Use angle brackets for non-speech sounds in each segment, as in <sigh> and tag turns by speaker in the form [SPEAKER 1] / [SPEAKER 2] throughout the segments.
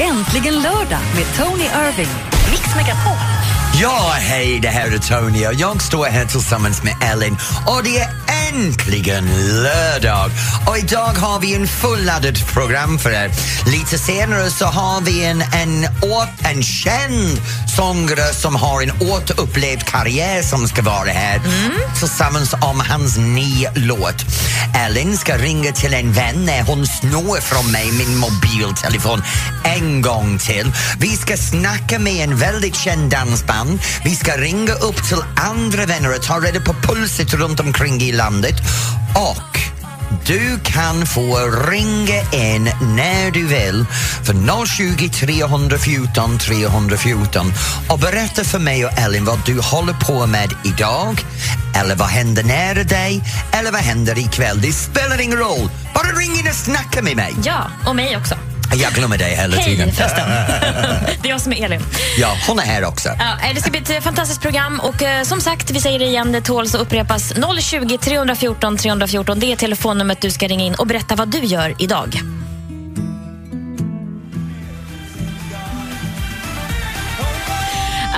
[SPEAKER 1] Äntligen lördag med Tony Irving. Mix Megapol.
[SPEAKER 2] Ja, hej, det här är Tony och jag står här tillsammans med Ellen och det är äntligen lördag. Och idag har vi en fulladdat program för er. Lite senare så har vi en, en, åt- en känd sångare som har en återupplevd karriär som ska vara här tillsammans om hans nya låt. Ellen ska ringa till en vän när hon snor från mig min mobiltelefon en gång till. Vi ska snacka med en väldigt känd dansband. Vi ska ringa upp till andra vänner och ta reda på pulset runt omkring i landet. Och du kan få ringa in när du vill för 020 314 314 och berätta för mig och Ellen vad du håller på med idag eller vad händer nära dig eller vad händer ikväll. Det spelar ingen roll. Bara ring in och snacka med mig.
[SPEAKER 3] Ja, och mig också.
[SPEAKER 2] Jag glömmer dig hela tiden.
[SPEAKER 3] Hej förresten. det är jag som är Elin.
[SPEAKER 2] Ja, hon är här också.
[SPEAKER 3] Ja, eh, det ska bli ett eh, fantastiskt program och eh, som sagt, vi säger det igen, det tåls att upprepas. 020 314 314, det är telefonnumret du ska ringa in och berätta vad du gör idag.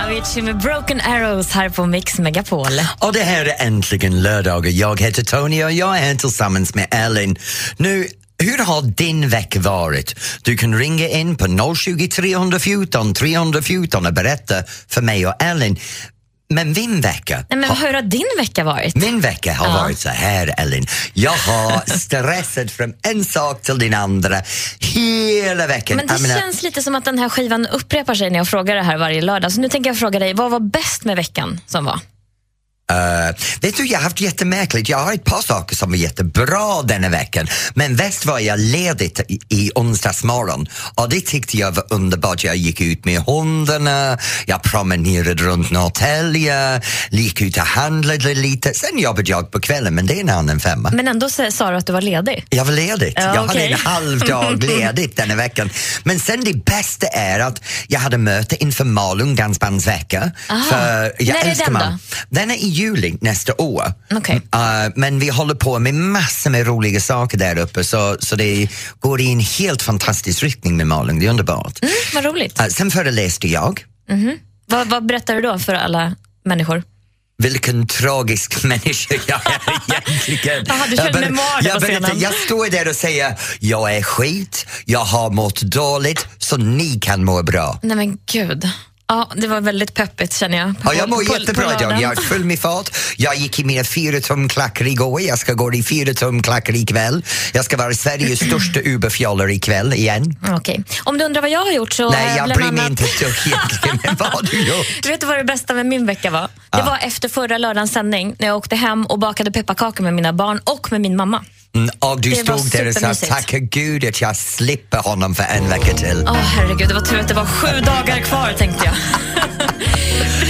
[SPEAKER 3] Avicii med Broken Arrows här på Mix Megapol.
[SPEAKER 2] Och det här är äntligen lördag och jag heter Tony och jag är här tillsammans med Ellen. Nu, hur har din vecka varit? Du kan ringa in på 020 314 314 och berätta för mig och Ellen. Men min vecka
[SPEAKER 3] Nej, men hur har din vecka varit?
[SPEAKER 2] min vecka har
[SPEAKER 3] Ja.
[SPEAKER 2] varit så här, Ellen. Jag
[SPEAKER 3] <laughs>
[SPEAKER 2] har stressat från en sak till den andra hela veckan.
[SPEAKER 3] Men det
[SPEAKER 2] Jag menar-
[SPEAKER 3] känns lite som att den här skivan upprepar sig när jag frågar det här varje lördag. Så nu tänker jag fråga dig, vad var bäst med veckan som var?
[SPEAKER 2] Eh, vet du, jag har haft jättemärkligt. Jag har ett par saker som var jättebra denna veckan. Men väst var jag ledigt i, i onsdagsmorgon och det tyckte jag var underbart. Jag gick ut med hundarna, jag promenerade runt Norrtälje, gick ut och handlade lite. Sen jobbade jag på kvällen, men det är en annan femma.
[SPEAKER 3] Men ändå sa sa du att du var ledig. Mm,
[SPEAKER 2] Jag var ledigt.
[SPEAKER 3] Ja,
[SPEAKER 2] jag hade
[SPEAKER 3] okej.
[SPEAKER 2] en halv
[SPEAKER 3] <laughs>
[SPEAKER 2] dag ledigt denna veckan. Men sen det bästa är att jag hade möte inför Malung dansbandsvecka.
[SPEAKER 3] Aha.
[SPEAKER 2] För jag
[SPEAKER 3] När är
[SPEAKER 2] älskar
[SPEAKER 3] den
[SPEAKER 2] Malung.
[SPEAKER 3] då?
[SPEAKER 2] Den är i juli nästa år.
[SPEAKER 3] Okej.
[SPEAKER 2] Uh, men vi håller på med massor med roliga saker där uppe så, så det går i en helt fantastisk riktning med Malung. Det är underbart.
[SPEAKER 3] Mm, vad roligt.
[SPEAKER 2] Uh, sen föreläste jag.
[SPEAKER 3] Vad, vad berättar du då för alla människor?
[SPEAKER 2] Vilken tragisk <laughs> människa jag är egentligen.
[SPEAKER 3] Jaha, du körde
[SPEAKER 2] Jag ber-
[SPEAKER 3] memoarer på
[SPEAKER 2] jag, berättar,
[SPEAKER 3] scenen.
[SPEAKER 2] jag står där och säger, jag är skit, jag har mått dåligt, så ni kan må bra.
[SPEAKER 3] Nej men gud. Ja, det var väldigt peppigt känner jag.
[SPEAKER 2] Ja, jag mår
[SPEAKER 3] På- på- på
[SPEAKER 2] jättebra idag,
[SPEAKER 3] lördagen.
[SPEAKER 2] jag är full med fart. Jag gick i mina fyra tumklackar igår, jag ska gå i fyra tumklackar ikväll. Jag ska vara Sveriges största uberfjoller ikväll igen.
[SPEAKER 3] Okej. Om du undrar vad jag har gjort så... eh,
[SPEAKER 2] Nej, jag
[SPEAKER 3] bland
[SPEAKER 2] bryr mig
[SPEAKER 3] annat-
[SPEAKER 2] inte ett dugg egentligen med vad du gör.
[SPEAKER 3] Du vet vad det bästa med min vecka var? Det var efter förra lördagens sändning när jag åkte hem och bakade pepparkakor med mina barn och med min mamma.
[SPEAKER 2] Mm, Och du
[SPEAKER 3] Det var
[SPEAKER 2] stod där och sa,
[SPEAKER 3] supermysigt.
[SPEAKER 2] tacka gud att jag slipper honom för en vecka till.
[SPEAKER 3] Åh herregud, det var tur att det var sju dagar kvar tänkte <laughs> jag.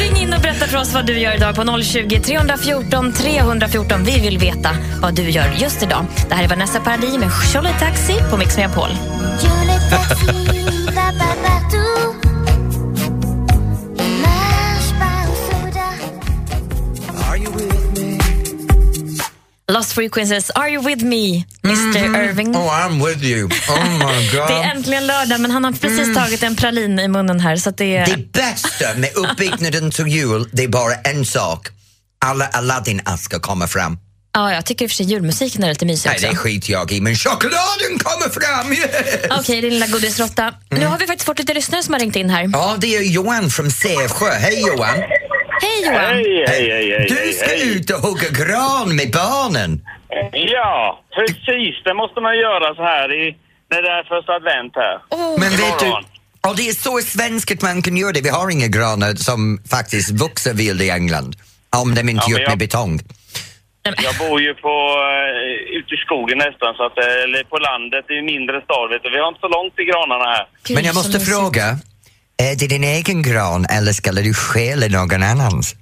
[SPEAKER 3] Ring in och berätta för oss vad du gör idag på 020 314 314. Vi vill veta vad du gör just idag. Det här är Vanessa Paradis med Charlie Taxi på Mix Megapol.
[SPEAKER 4] Yo le taxi va pas partout. Il marche pas au soda.
[SPEAKER 3] Lost Frequencies, Are You With Me, Mr Irving.
[SPEAKER 2] Oh, I'm with you. Oh my god.
[SPEAKER 3] <laughs> Det är äntligen lördag, men han har precis tagit en pralin i munnen här. Så att Mm. det är...
[SPEAKER 2] Det bästa med uppbyggnaden till jul, det är bara en sak. Alla Aladdin-askar kommer fram.
[SPEAKER 3] ja, jag tycker i och för sig julmusiken är lite mysig
[SPEAKER 2] Nej,
[SPEAKER 3] också.
[SPEAKER 2] det skiter jag i, men chokladen kommer fram! Yeah!
[SPEAKER 3] Okej, din lilla godisråtta. Nu har vi faktiskt fått lite lyssnare som har ringt in här.
[SPEAKER 2] Ja, det är Johan från Sävsjö. Hej Johan!
[SPEAKER 3] Hej Johan!
[SPEAKER 5] Hej, hej, hej, hej,
[SPEAKER 2] Du ska
[SPEAKER 5] hej.
[SPEAKER 2] ut och hugga gran med barnen.
[SPEAKER 5] Ja, precis. Det måste man göra så här i, när det är första advent här.
[SPEAKER 3] Åh,
[SPEAKER 2] Men vet du,
[SPEAKER 5] Imorgon.
[SPEAKER 2] och det är så svenskt man kan göra det. Vi har inga granar som faktiskt vuxer vild i England. Om de inte
[SPEAKER 5] Ja, men
[SPEAKER 2] gjort med
[SPEAKER 5] jag-
[SPEAKER 2] betong.
[SPEAKER 5] Jag bor ju på, eh, ute i skogen nästan, så att, eh, eller på landet i en mindre stad. Vet du. Vi har inte så långt till granarna här.
[SPEAKER 3] gud,
[SPEAKER 2] Men jag
[SPEAKER 3] så
[SPEAKER 2] måste
[SPEAKER 3] mysigt.
[SPEAKER 2] fråga, är det din egen gran eller ska du stjäla någon annans?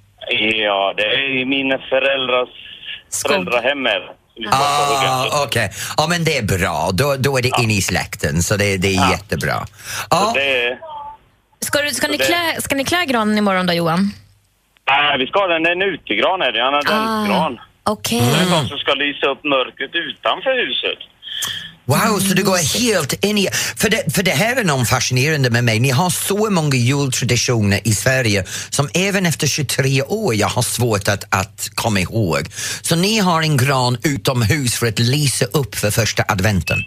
[SPEAKER 5] Ja, det är i mina föräldrars
[SPEAKER 3] Skog.
[SPEAKER 5] föräldrahem här. Vi ska på hugget.
[SPEAKER 2] Ah, Okej, ja men det är bra. Då, då är det in i släkten, så det, det är jättebra. Ja,
[SPEAKER 5] Det är-
[SPEAKER 3] Ska, du, ska, ni
[SPEAKER 5] det-
[SPEAKER 3] klä, ska ni klä granen imorgon då Johan?
[SPEAKER 5] Nej, vi ska ha den. Det är en utegran är det,
[SPEAKER 2] Ah.
[SPEAKER 5] en adventsgran.
[SPEAKER 3] Ah, Okej.
[SPEAKER 5] Som ska lysa upp mörkret utanför huset.
[SPEAKER 2] Wow, så det går helt in i... För det, för det här är någon fascinerande med mig. Ni har så många jultraditioner i Sverige som även efter 23 år jag har svårt att, att komma ihåg. Så ni har en gran utomhus för att lysa upp för första adventen.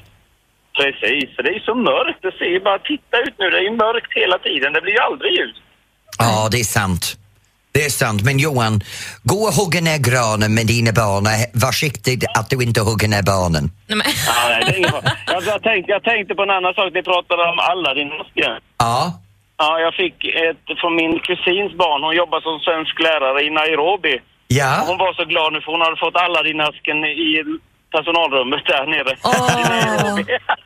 [SPEAKER 5] Precis, för det är så mörkt. Det ser ju bara, titta ut nu, det är ju mörkt hela tiden. Det blir ju aldrig ljus.
[SPEAKER 2] Ja, det är sant. Det är sant. Men Johan, gå och hugga ner granen med dina barn. Var försiktig att du inte hugger ner barnen.
[SPEAKER 3] Nej, men,
[SPEAKER 5] Ja, nej, det är ingen fara. jag, jag, tänkte, jag tänkte på en annan sak. Ni pratade om Aladdin-masken.
[SPEAKER 2] Ja,
[SPEAKER 5] Ja, jag fick ett från min kusins barn. Hon jobbar som svensk lärare i Nairobi. Hon
[SPEAKER 2] ja.
[SPEAKER 5] var så glad nu för hon hade fått Aladdin-asken i personalrummet där nere.
[SPEAKER 3] åh.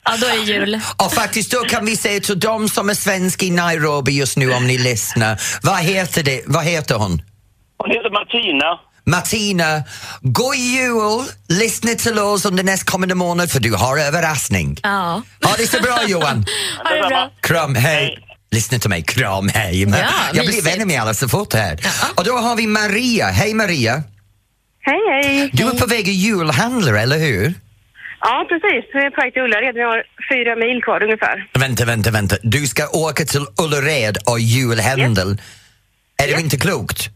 [SPEAKER 3] Ja, då är det jul.
[SPEAKER 2] Och faktiskt då kan vi säga till de som är svenska i Nairobi just nu om ni lyssnar. Vad heter, det? Vad heter hon?
[SPEAKER 5] <laughs> Hon heter Martina.
[SPEAKER 2] Martina, god jul! Lyssna till oss under nästkommande månad för du har överraskning.
[SPEAKER 3] Ja.
[SPEAKER 2] Ha det så bra Johan!
[SPEAKER 3] Ha det bra.
[SPEAKER 2] Kram, hej.
[SPEAKER 5] Hej.
[SPEAKER 2] Lyssna till mig, kram, hej. Men
[SPEAKER 3] Ja,
[SPEAKER 2] jag blir
[SPEAKER 3] mysigt.
[SPEAKER 2] vänner med alla så fort här. Och då har vi Maria. Hej Maria!
[SPEAKER 6] Hej, hej!
[SPEAKER 2] Du är på väg att julhandla, eller hur?
[SPEAKER 6] Ja, precis. Vi är på väg till Ullared. Vi har fyra mil kvar ungefär.
[SPEAKER 2] Vänta, vänta, vänta. Du ska åka till Ullared och julhandel. Är det inte klokt?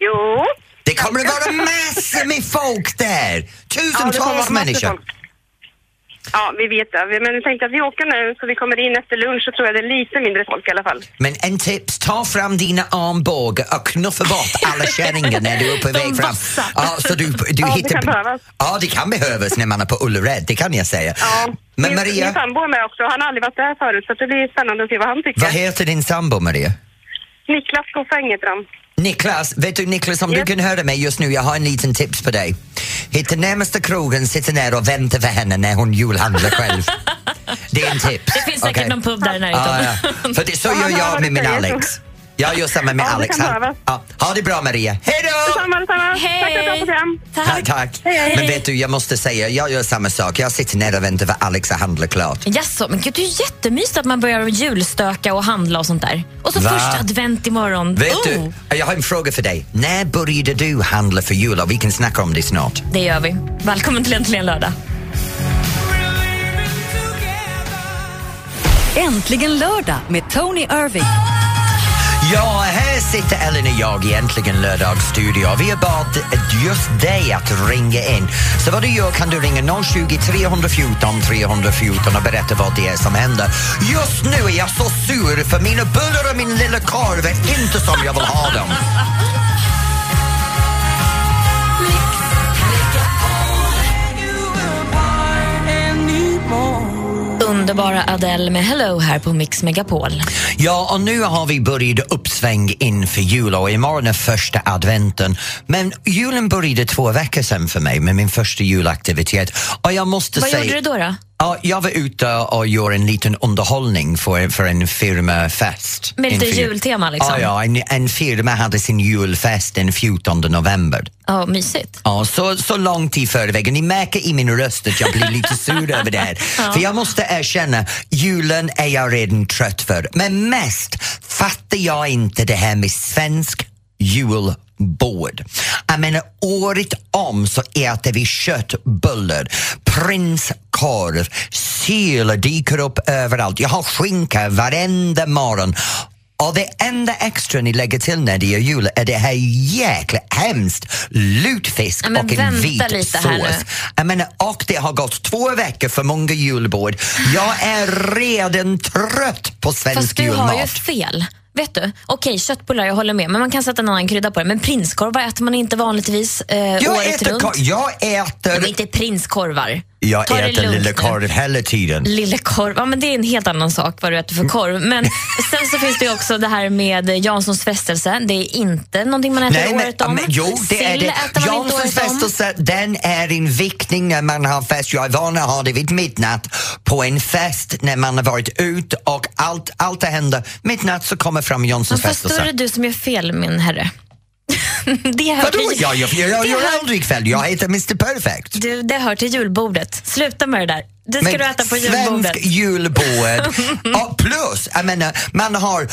[SPEAKER 6] Jo!
[SPEAKER 2] Det kommer att vara massor med folk där!
[SPEAKER 6] Ja, det kommer
[SPEAKER 2] Tusentals
[SPEAKER 6] massor
[SPEAKER 2] människor.
[SPEAKER 6] folk. Ja, vi vet det. Men vi tänkte att vi åker nu, så vi kommer in efter lunch så tror jag det är lite mindre folk i alla fall.
[SPEAKER 2] Men en tips, ta fram dina armbågar och knuffa bort
[SPEAKER 6] <laughs>
[SPEAKER 2] alla kärringar när du är på
[SPEAKER 3] De
[SPEAKER 2] väg fram.
[SPEAKER 3] vassa.
[SPEAKER 2] Ja, så du, du
[SPEAKER 6] Ja, det
[SPEAKER 2] hittar...
[SPEAKER 6] kan behövas.
[SPEAKER 2] Ja, det kan behövas när man är på Ullared, det kan jag säga.
[SPEAKER 6] Ja.
[SPEAKER 2] Men
[SPEAKER 6] min, Min
[SPEAKER 2] Maria,
[SPEAKER 6] sambo är med också. Han har aldrig varit där förut, så det blir spännande att se vad han tycker.
[SPEAKER 2] vad heter din sambo Maria?
[SPEAKER 6] Niklas Goffäng heter han.
[SPEAKER 2] Niklas, vet du Niklas om
[SPEAKER 6] Yes.
[SPEAKER 2] du kan höra mig just nu, jag har en liten tips på dig. Hitta närmaste krogen, sitta ner och vänta för henne när hon julhandlar själv.
[SPEAKER 6] <laughs>
[SPEAKER 2] Det är en tips.
[SPEAKER 3] Det finns säkert
[SPEAKER 2] Okej.
[SPEAKER 3] någon pub där i
[SPEAKER 2] Ja,
[SPEAKER 3] närheten. <laughs>
[SPEAKER 2] ja. För det, så
[SPEAKER 6] Ja,
[SPEAKER 2] gör
[SPEAKER 6] men
[SPEAKER 2] jag
[SPEAKER 6] vad
[SPEAKER 2] med
[SPEAKER 6] du
[SPEAKER 2] min
[SPEAKER 6] säger.
[SPEAKER 2] Alex. Jag gör samma med
[SPEAKER 6] Ja, det
[SPEAKER 2] Alex.
[SPEAKER 6] kan
[SPEAKER 2] Han-
[SPEAKER 6] behövas.
[SPEAKER 2] ja. Ha det bra Maria. Hej då!
[SPEAKER 6] Detsamma, detsamma! Tack för att du
[SPEAKER 3] Hej!
[SPEAKER 6] har fått hem.
[SPEAKER 2] Tack, tack. Men vet du, jag måste säga, jag gör samma sak. Jag sitter ner och väntar för Alex att handla klart.
[SPEAKER 3] Jaså, men gud det är ju jättemysigt att man börjar julstöka och handla och sånt där. Och så
[SPEAKER 2] Va?
[SPEAKER 3] första advent imorgon.
[SPEAKER 2] Vet
[SPEAKER 3] Oh,
[SPEAKER 2] du, jag har en fråga för dig. När började du handla för jul? Och vi kan snacka om det snart.
[SPEAKER 3] Det gör vi. Välkommen till Äntligen lördag.
[SPEAKER 1] Äntligen lördag med Tony Irving.
[SPEAKER 2] Ja, här sitter Ellen och jag i Äntligen lördagsstudio. Vi har bad just dig att ringa in. Så vad du gör kan du ringa 020 314 314 och berätta vad det är som händer. Just nu är jag så sur för mina bullar och min lilla korv är inte som jag vill ha dem.
[SPEAKER 3] Underbara Adele med Hello här på Mix Megapol.
[SPEAKER 2] Ja, och nu har vi börjat uppsväng inför jul och imorgon är första adventen. Men julen började två veckor sedan för mig med min första julaktivitet. Och jag måste
[SPEAKER 3] Vad
[SPEAKER 2] säga...
[SPEAKER 3] gjorde du då? då?
[SPEAKER 2] Ja, jag var ute och gjorde en liten underhållning för, för en firmafest.
[SPEAKER 3] Med lite
[SPEAKER 2] Inför jul-
[SPEAKER 3] jultema liksom?
[SPEAKER 2] Ja, ja en, en firma hade sin julfest den 14 november.
[SPEAKER 3] Ja, mysigt.
[SPEAKER 2] Ja, så, så långt i förväg. Ni märker i min röst att jag blir lite sur över det här. För jag måste erkänna, julen är jag redan trött för. Men mest fattar jag inte det här med svensk julbord. Jag menar, året om så äter vi köttbullar, prinskorv, sill dyker upp överallt. Jag har skinka varenda morgon. Och det enda extra ni lägger till när det är jul är det här jäkla hemskt lutfisk
[SPEAKER 3] Ja, men
[SPEAKER 2] och en
[SPEAKER 3] vänta
[SPEAKER 2] vit
[SPEAKER 3] lite här nu.
[SPEAKER 2] sås. Jag menar, och det har gått två veckor för många julbord. Jag är redan trött på
[SPEAKER 3] Fast
[SPEAKER 2] svensk
[SPEAKER 3] du har ju
[SPEAKER 2] julmat.
[SPEAKER 3] fel. Vet du? Okej, köttbullar, jag håller med. Men man kan sätta en annan krydda på det. Men prinskorvar äter man inte vanligtvis eh,
[SPEAKER 2] Jag
[SPEAKER 3] året
[SPEAKER 2] äter,
[SPEAKER 3] runt.
[SPEAKER 2] kor- jag
[SPEAKER 3] Nej,
[SPEAKER 2] äter,
[SPEAKER 3] men inte prinskorvar.
[SPEAKER 2] jag
[SPEAKER 3] Ta det
[SPEAKER 2] äter
[SPEAKER 3] lugnt
[SPEAKER 2] lilla
[SPEAKER 3] nu.
[SPEAKER 2] korv hela tiden.
[SPEAKER 3] Lille korv, ja men det är en helt annan sak vad du äter för
[SPEAKER 2] <laughs>
[SPEAKER 3] korv. Men sen så finns det ju också det här med Janssons frestelse. Det är inte någonting man äter året om.
[SPEAKER 2] men, jo, det är
[SPEAKER 3] Sill
[SPEAKER 2] det.
[SPEAKER 3] äter man
[SPEAKER 2] Janssons
[SPEAKER 3] inte året om.
[SPEAKER 2] frestelse, den är en viktning när man har fest. Jag är van att ha det vid midnatt på en fest när man har varit ut och allt, allt det händer. Midnatt så kommer fram
[SPEAKER 3] Men
[SPEAKER 2] Janssons
[SPEAKER 3] fast då är det
[SPEAKER 2] frestelse.
[SPEAKER 3] du som gör fel min herre. <laughs> det hör
[SPEAKER 2] Vadå?
[SPEAKER 3] till,
[SPEAKER 2] Jag, jag, jag, jag
[SPEAKER 3] det
[SPEAKER 2] gör
[SPEAKER 3] hör-
[SPEAKER 2] aldrig fel. Jag heter Mr Perfect.
[SPEAKER 3] du, det hör till julbordet. Sluta med det där. Det ska
[SPEAKER 2] Men
[SPEAKER 3] du äta på
[SPEAKER 2] svensk
[SPEAKER 3] <laughs> julbordet.
[SPEAKER 2] julbord. och plus, jag menar, man har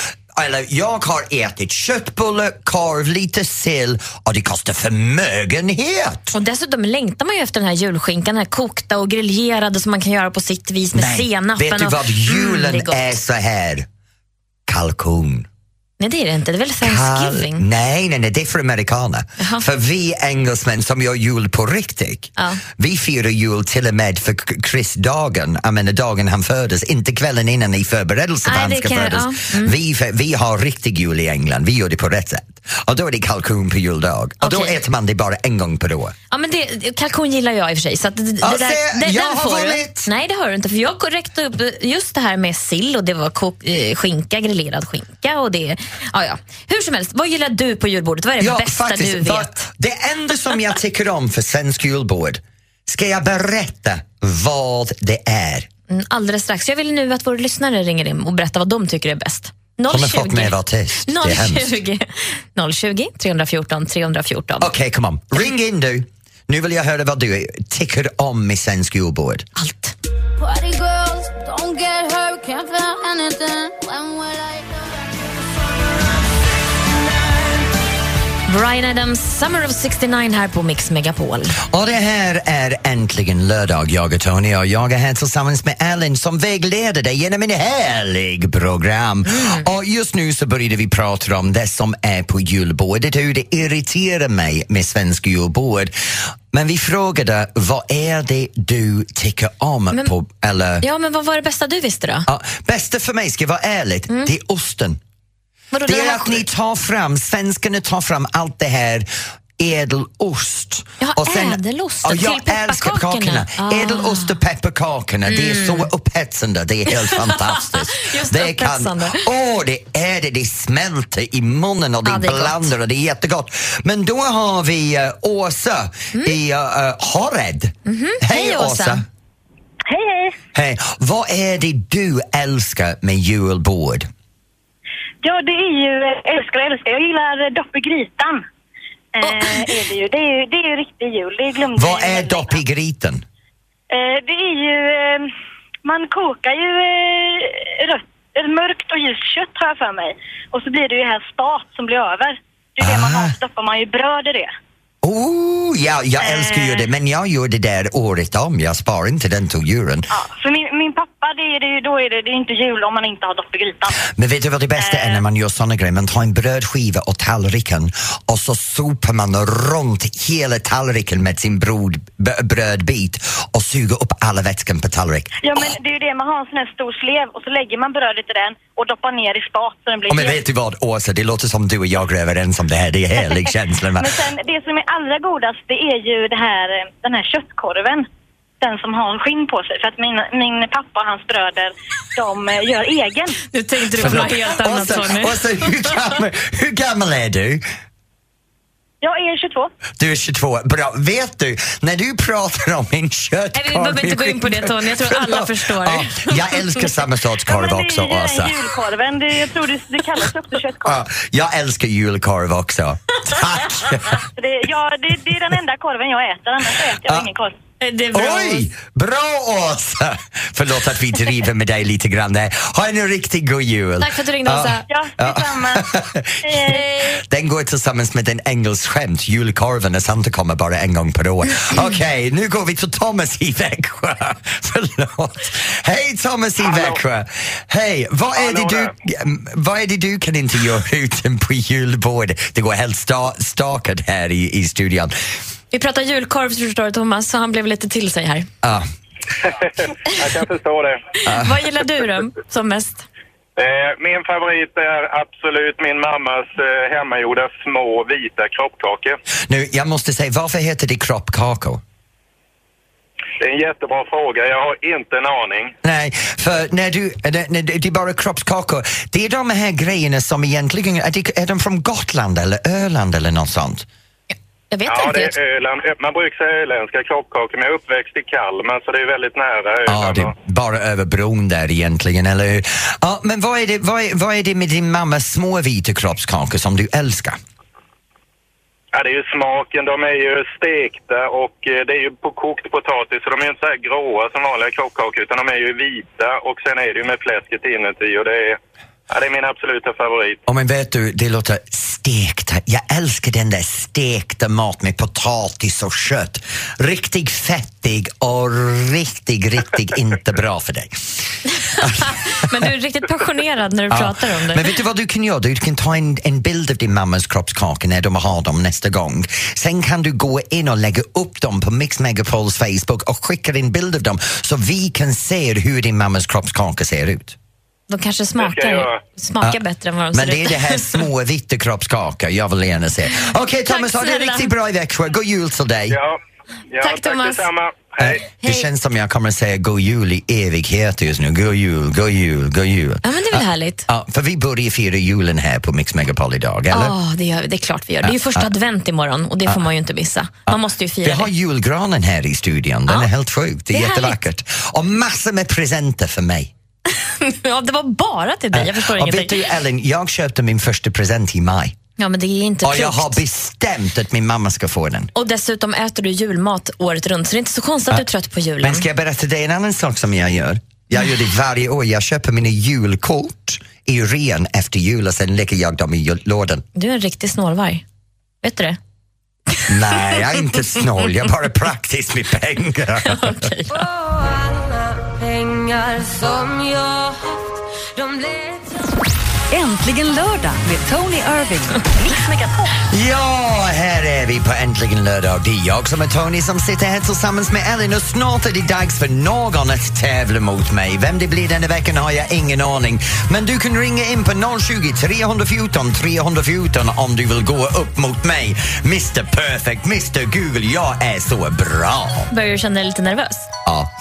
[SPEAKER 2] eller jag har ätit köttbulle, korv, lite sill och det kostar förmögenhet.
[SPEAKER 3] Och dessutom längtar man ju efter den här julskinkan, den här kokta och griljerade som man kan göra på sitt vis med senapen.
[SPEAKER 2] vet du
[SPEAKER 3] och-
[SPEAKER 2] vad
[SPEAKER 3] Mm,
[SPEAKER 2] julen
[SPEAKER 3] det är, gott.
[SPEAKER 2] är så här? Kalkon.
[SPEAKER 3] Nej, det är det inte. Det är väl
[SPEAKER 2] Kal-
[SPEAKER 3] Thanksgiving?
[SPEAKER 2] nej, nej, nej, det är för amerikaner. För vi engelsmän som gör jul på riktigt,
[SPEAKER 3] Ja.
[SPEAKER 2] vi firar jul till och med för k- Chris-dagen, jag menar dagen han föddes, inte kvällen innan i förberedelse för
[SPEAKER 3] Nej,
[SPEAKER 2] han
[SPEAKER 3] det
[SPEAKER 2] ska
[SPEAKER 3] kan-
[SPEAKER 2] födas.
[SPEAKER 3] ja, mm.
[SPEAKER 2] Vi, fe- vi har riktig jul i England, vi gör det på rätt sätt. Och då är det kalkon på juldag. Och då
[SPEAKER 3] Okej.
[SPEAKER 2] äter man det bara en gång per år.
[SPEAKER 3] Ja, men det, kalkon gillar jag i och för sig. Så att det, det
[SPEAKER 2] Ja,
[SPEAKER 3] där,
[SPEAKER 2] se,
[SPEAKER 3] det,
[SPEAKER 2] jag
[SPEAKER 3] den
[SPEAKER 2] har
[SPEAKER 3] får du.
[SPEAKER 2] vunnit!
[SPEAKER 3] Nej, det har du inte. För Jag räckte upp just det här med sill och det var kok, eh, skinka, grillerad skinka. Och det, ja, ja. Hur som helst, vad gillar du på julbordet? Vad är det bästa du vet?
[SPEAKER 2] vad- det enda som jag tycker om för svensk julbord, ska jag berätta vad det är?
[SPEAKER 3] Mm, Alldeles strax. Jag vill nu att våra lyssnare ringer in och berättar vad de tycker är bäst.
[SPEAKER 2] Som har fått mig att vara tyst. Det är hemskt.
[SPEAKER 3] 020 020 314 314.
[SPEAKER 2] Okej, kom on. Ring in du. Nu vill jag höra vad du tycker om i svensk julbord.
[SPEAKER 3] Allt.
[SPEAKER 4] Party girls, don't get hurt, can't feel anything. When will I
[SPEAKER 3] Brian Adams, Summer of 69 här på Mix Megapol.
[SPEAKER 2] Och det här är äntligen lördag, jag och Tony och jag är här tillsammans med Ellen som vägleder dig genom en härlig program. Och just nu så började vi prata om det som är på julbordet, hur det irriterar mig med svensk julbord. Men vi frågade, vad är det du tycker om? på, eller,
[SPEAKER 3] Ja, men vad var det bästa du visste då?
[SPEAKER 2] ja, bästa för mig, ska jag vara ärlig, det är osten.
[SPEAKER 3] Vadå,
[SPEAKER 2] Det
[SPEAKER 3] den
[SPEAKER 2] är
[SPEAKER 3] här-
[SPEAKER 2] att ni tar fram, svenskarna tar fram allt det här ädelost.
[SPEAKER 3] Ja, ädelost
[SPEAKER 2] Ja, jag
[SPEAKER 3] till
[SPEAKER 2] älskar kakorna.
[SPEAKER 3] pepparkakorna. Ah. Mm.
[SPEAKER 2] Ädelost och pepparkakorna, det är så upphetsande. Det är helt
[SPEAKER 3] <laughs>
[SPEAKER 2] fantastiskt.
[SPEAKER 3] Just
[SPEAKER 2] det kan,
[SPEAKER 3] upphetsande.
[SPEAKER 2] åh, det är det. Det smälter i munnen och det,
[SPEAKER 3] Ja, det är gott.
[SPEAKER 2] blandar och det är jättegott. Men då har vi uh, Åsa i uh, uh, Horred. Hej,
[SPEAKER 3] Mm. Mhm. Hej,
[SPEAKER 2] Åsa.
[SPEAKER 3] Åsa.
[SPEAKER 6] Hej, hej!
[SPEAKER 2] Hej. Vad är det du älskar med julbord?
[SPEAKER 6] Ja, det är ju eh, älskar och älskar. Jag gillar dopp i grytan. Eh, är det, ju. Det, är ju, det är ju riktig jul. Det glömde
[SPEAKER 2] Vad
[SPEAKER 6] jag
[SPEAKER 2] är
[SPEAKER 6] ju.
[SPEAKER 2] dopp i grytan?
[SPEAKER 6] Eh, det är ju... Eh, man kokar ju eh, rött, eller mörkt och ljust kött har jag för mig. Och så blir det ju här spat som blir över. Det är det man
[SPEAKER 2] Ah.
[SPEAKER 6] har. Så doppar man ju bröd i det.
[SPEAKER 2] Oh, ja, jag
[SPEAKER 6] Eh.
[SPEAKER 2] älskar ju det, men jag gör det där året om. Jag sparar inte den till julen.
[SPEAKER 6] Ja, för min, min pappa, det är, det, är- då är det, det är inte jul om man inte har dopp i grytan.
[SPEAKER 2] Men vet du vad det bästa
[SPEAKER 3] Eh.
[SPEAKER 2] är när man gör såna grejer? Man tar en brödskiva och tallriken och så sopar man runt hela tallriken med sin brod, b- brödbit och suger upp alla vätskan på tallriken.
[SPEAKER 6] Ja, men det är ju det, man har en sån här stor slev och så lägger man brödet i den och doppar ner i spat så den blir
[SPEAKER 2] Och men
[SPEAKER 6] mjuk.
[SPEAKER 2] vet du vad, Åsa, det låter som du och jag är överens om det här. Det är härlig känsla.
[SPEAKER 3] <laughs>
[SPEAKER 2] va?
[SPEAKER 6] Men sen det som är allra godast det är ju det här, eh, den här köttkorven. Den som har skinn på sig. För att min, min pappa och hans bröder, de eh, gör egen.
[SPEAKER 3] Nu tänkte du på
[SPEAKER 2] Förlåt.
[SPEAKER 3] något helt annat
[SPEAKER 2] Åsa,
[SPEAKER 3] Tony.
[SPEAKER 2] Åsa, hur gammal, hur gammal är du?
[SPEAKER 6] Jag är 22.
[SPEAKER 2] Du är 22, bra. Vet du, när du pratar om en köttkorv...
[SPEAKER 3] Nej, vi behöver inte gå in på det, Tony. Jag tror alla
[SPEAKER 2] Förlåt.
[SPEAKER 3] förstår.
[SPEAKER 2] Ja, jag älskar samma sorts korv
[SPEAKER 6] men
[SPEAKER 2] också,
[SPEAKER 6] det alltså. är ju den
[SPEAKER 2] Åsa.
[SPEAKER 6] här julkorven. Det, jag tror det, det kallas också köttkorv.
[SPEAKER 2] Ja, jag älskar julkorv också. Tack!
[SPEAKER 6] Så Det, ja, det, det är den enda korven jag äter. Annars äter jag
[SPEAKER 2] Ja.
[SPEAKER 6] ingen korv.
[SPEAKER 3] <laughs> Det är bra.
[SPEAKER 2] Oj! Bra, Åsa! Förlåt att vi driver med dig lite grann där. Ha en riktigt god jul.
[SPEAKER 3] Tack för att du ringde,
[SPEAKER 2] Ja.
[SPEAKER 3] Åsa.
[SPEAKER 6] Ja,
[SPEAKER 2] <laughs>
[SPEAKER 6] detsamma. Eh,
[SPEAKER 2] Den går tillsammans med en engelsk skämt, julkorven, och Santa kommer bara en gång per år. Okej, nu går vi till Thomas i Växjö. <laughs> Förlåt. Hej Thomas i Växjö. Hej, vad är,
[SPEAKER 5] Hallå
[SPEAKER 2] det du, mm, vad är det du kan inte göra <laughs> utan på julbordet? Det går helt sta, stakat här i, i studion.
[SPEAKER 3] Vi pratar julkorv förstår du Thomas, så han blev lite till sig här.
[SPEAKER 2] Ah,
[SPEAKER 5] Jag kan förstå det.
[SPEAKER 3] Vad gillar du då som mest?
[SPEAKER 5] Eh, min favorit är absolut min mammas eh, hemmagjorda små vita kroppkakor.
[SPEAKER 2] nu, jag måste säga, varför heter det kroppkakor?
[SPEAKER 5] Det är en jättebra fråga. Jag har inte en aning.
[SPEAKER 2] Nej, för när du, när, när det det är bara kroppskakor. Det är de här grejerna som egentligen, är, det, är de från Gotland eller Öland eller något sånt?
[SPEAKER 3] Jag vet
[SPEAKER 5] Ja, det
[SPEAKER 3] inte.
[SPEAKER 5] är Öland. Man brukar säga öländska kroppkakor, men jag är uppväxt i Kalmar så det är väldigt nära
[SPEAKER 2] Ja,
[SPEAKER 5] Öland.
[SPEAKER 2] det är bara över bron där egentligen, eller hur? Ja, men vad är, det, vad, är, vad är det med din mammas små vita kroppskakor som du älskar?
[SPEAKER 5] Ja, det är ju smaken. De är ju stekta och eh, det är ju på kokt potatis. Så de är ju inte så här gråa som vanliga kroppkakor utan de är ju vita och sen är det ju med fläsket inuti och det är... Ja, det är min absoluta favorit.
[SPEAKER 2] Ja, men vet du, det låter stekta. Jag älskar den där stekta mat med potatis och kött. Riktigt fettig och riktigt, riktigt inte bra för dig.
[SPEAKER 3] Men du är riktigt passionerad när du pratar om det.
[SPEAKER 2] Men vet du vad du kan göra? Du kan ta en, en bild av din mammas kroppskaka när de har dem nästa gång. Sen kan du gå in och lägga upp dem på Mix Megapols Facebook och skicka en bild av dem så vi kan se hur din mammas kroppskaka ser ut.
[SPEAKER 3] De kanske
[SPEAKER 5] ska jag göra.
[SPEAKER 3] smakar, smakar bättre än vad de
[SPEAKER 2] Men
[SPEAKER 3] ser
[SPEAKER 2] det är
[SPEAKER 3] ut.
[SPEAKER 2] det här
[SPEAKER 3] <laughs>
[SPEAKER 2] små vita kroppskakor jag vill gärna se. Okej Thomas, ha det
[SPEAKER 3] snälla.
[SPEAKER 2] riktigt bra i Växjö. God jul till dig. Eh,
[SPEAKER 5] Ja. ja
[SPEAKER 3] Tack, Thomas.
[SPEAKER 5] detsamma. Hej.
[SPEAKER 2] Det känns som jag kommer att säga god jul i evighet just nu. God jul, god jul, god jul.
[SPEAKER 3] Ja, men det är väl härligt?
[SPEAKER 2] Ja, för vi börjar fira julen här på Mix Megapol idag, eller?
[SPEAKER 3] Ja, det, gör, vi. det är klart vi gör. Det är ju första advent imorgon och det får man ju inte missa. Man måste ju
[SPEAKER 2] Vi
[SPEAKER 3] fira
[SPEAKER 2] har
[SPEAKER 3] det.
[SPEAKER 2] julgranen här i studion. Den
[SPEAKER 3] Ja.
[SPEAKER 2] är helt sjuk. Det är,
[SPEAKER 3] Det är
[SPEAKER 2] jättevackert. Och massor med presenter för mig.
[SPEAKER 3] Ja, det var bara till dig, jag förstår
[SPEAKER 2] och vet du
[SPEAKER 3] ingenting.
[SPEAKER 2] Ellen, jag köpte min första present i maj.
[SPEAKER 3] Ja, men det är inte
[SPEAKER 2] Och jag har
[SPEAKER 3] klokt.
[SPEAKER 2] bestämt att min mamma ska få den.
[SPEAKER 3] Och dessutom äter du julmat året runt, så det är inte så konstigt att du är trött på julen.
[SPEAKER 2] Men ska jag berätta dig en annan sak som jag gör? Jag gör det varje år. Jag köper mina julkort i ren efter jul och sen lägger jag dem i jul- lådan.
[SPEAKER 3] Du är en riktig snålvarg. Vet du det?
[SPEAKER 2] Nej, jag är inte snål. Jag är bara praktisk med pengar.
[SPEAKER 1] Äntligen lördag med Tony Irving. Mix Megapol.
[SPEAKER 2] Ja, här är vi på Äntligen lördag. Det är jag som är Tony som sitter här tillsammans med Ellen och snart är det dags för någon att tävla mot mig. Vem det blir denna veckan har jag ingen aning. Men du kan ringa in på 020 314 314 om du vill gå upp mot mig. Mr Perfect, Mr Google, jag är så bra.
[SPEAKER 3] Börjar du känna dig lite nervös?
[SPEAKER 2] Ja.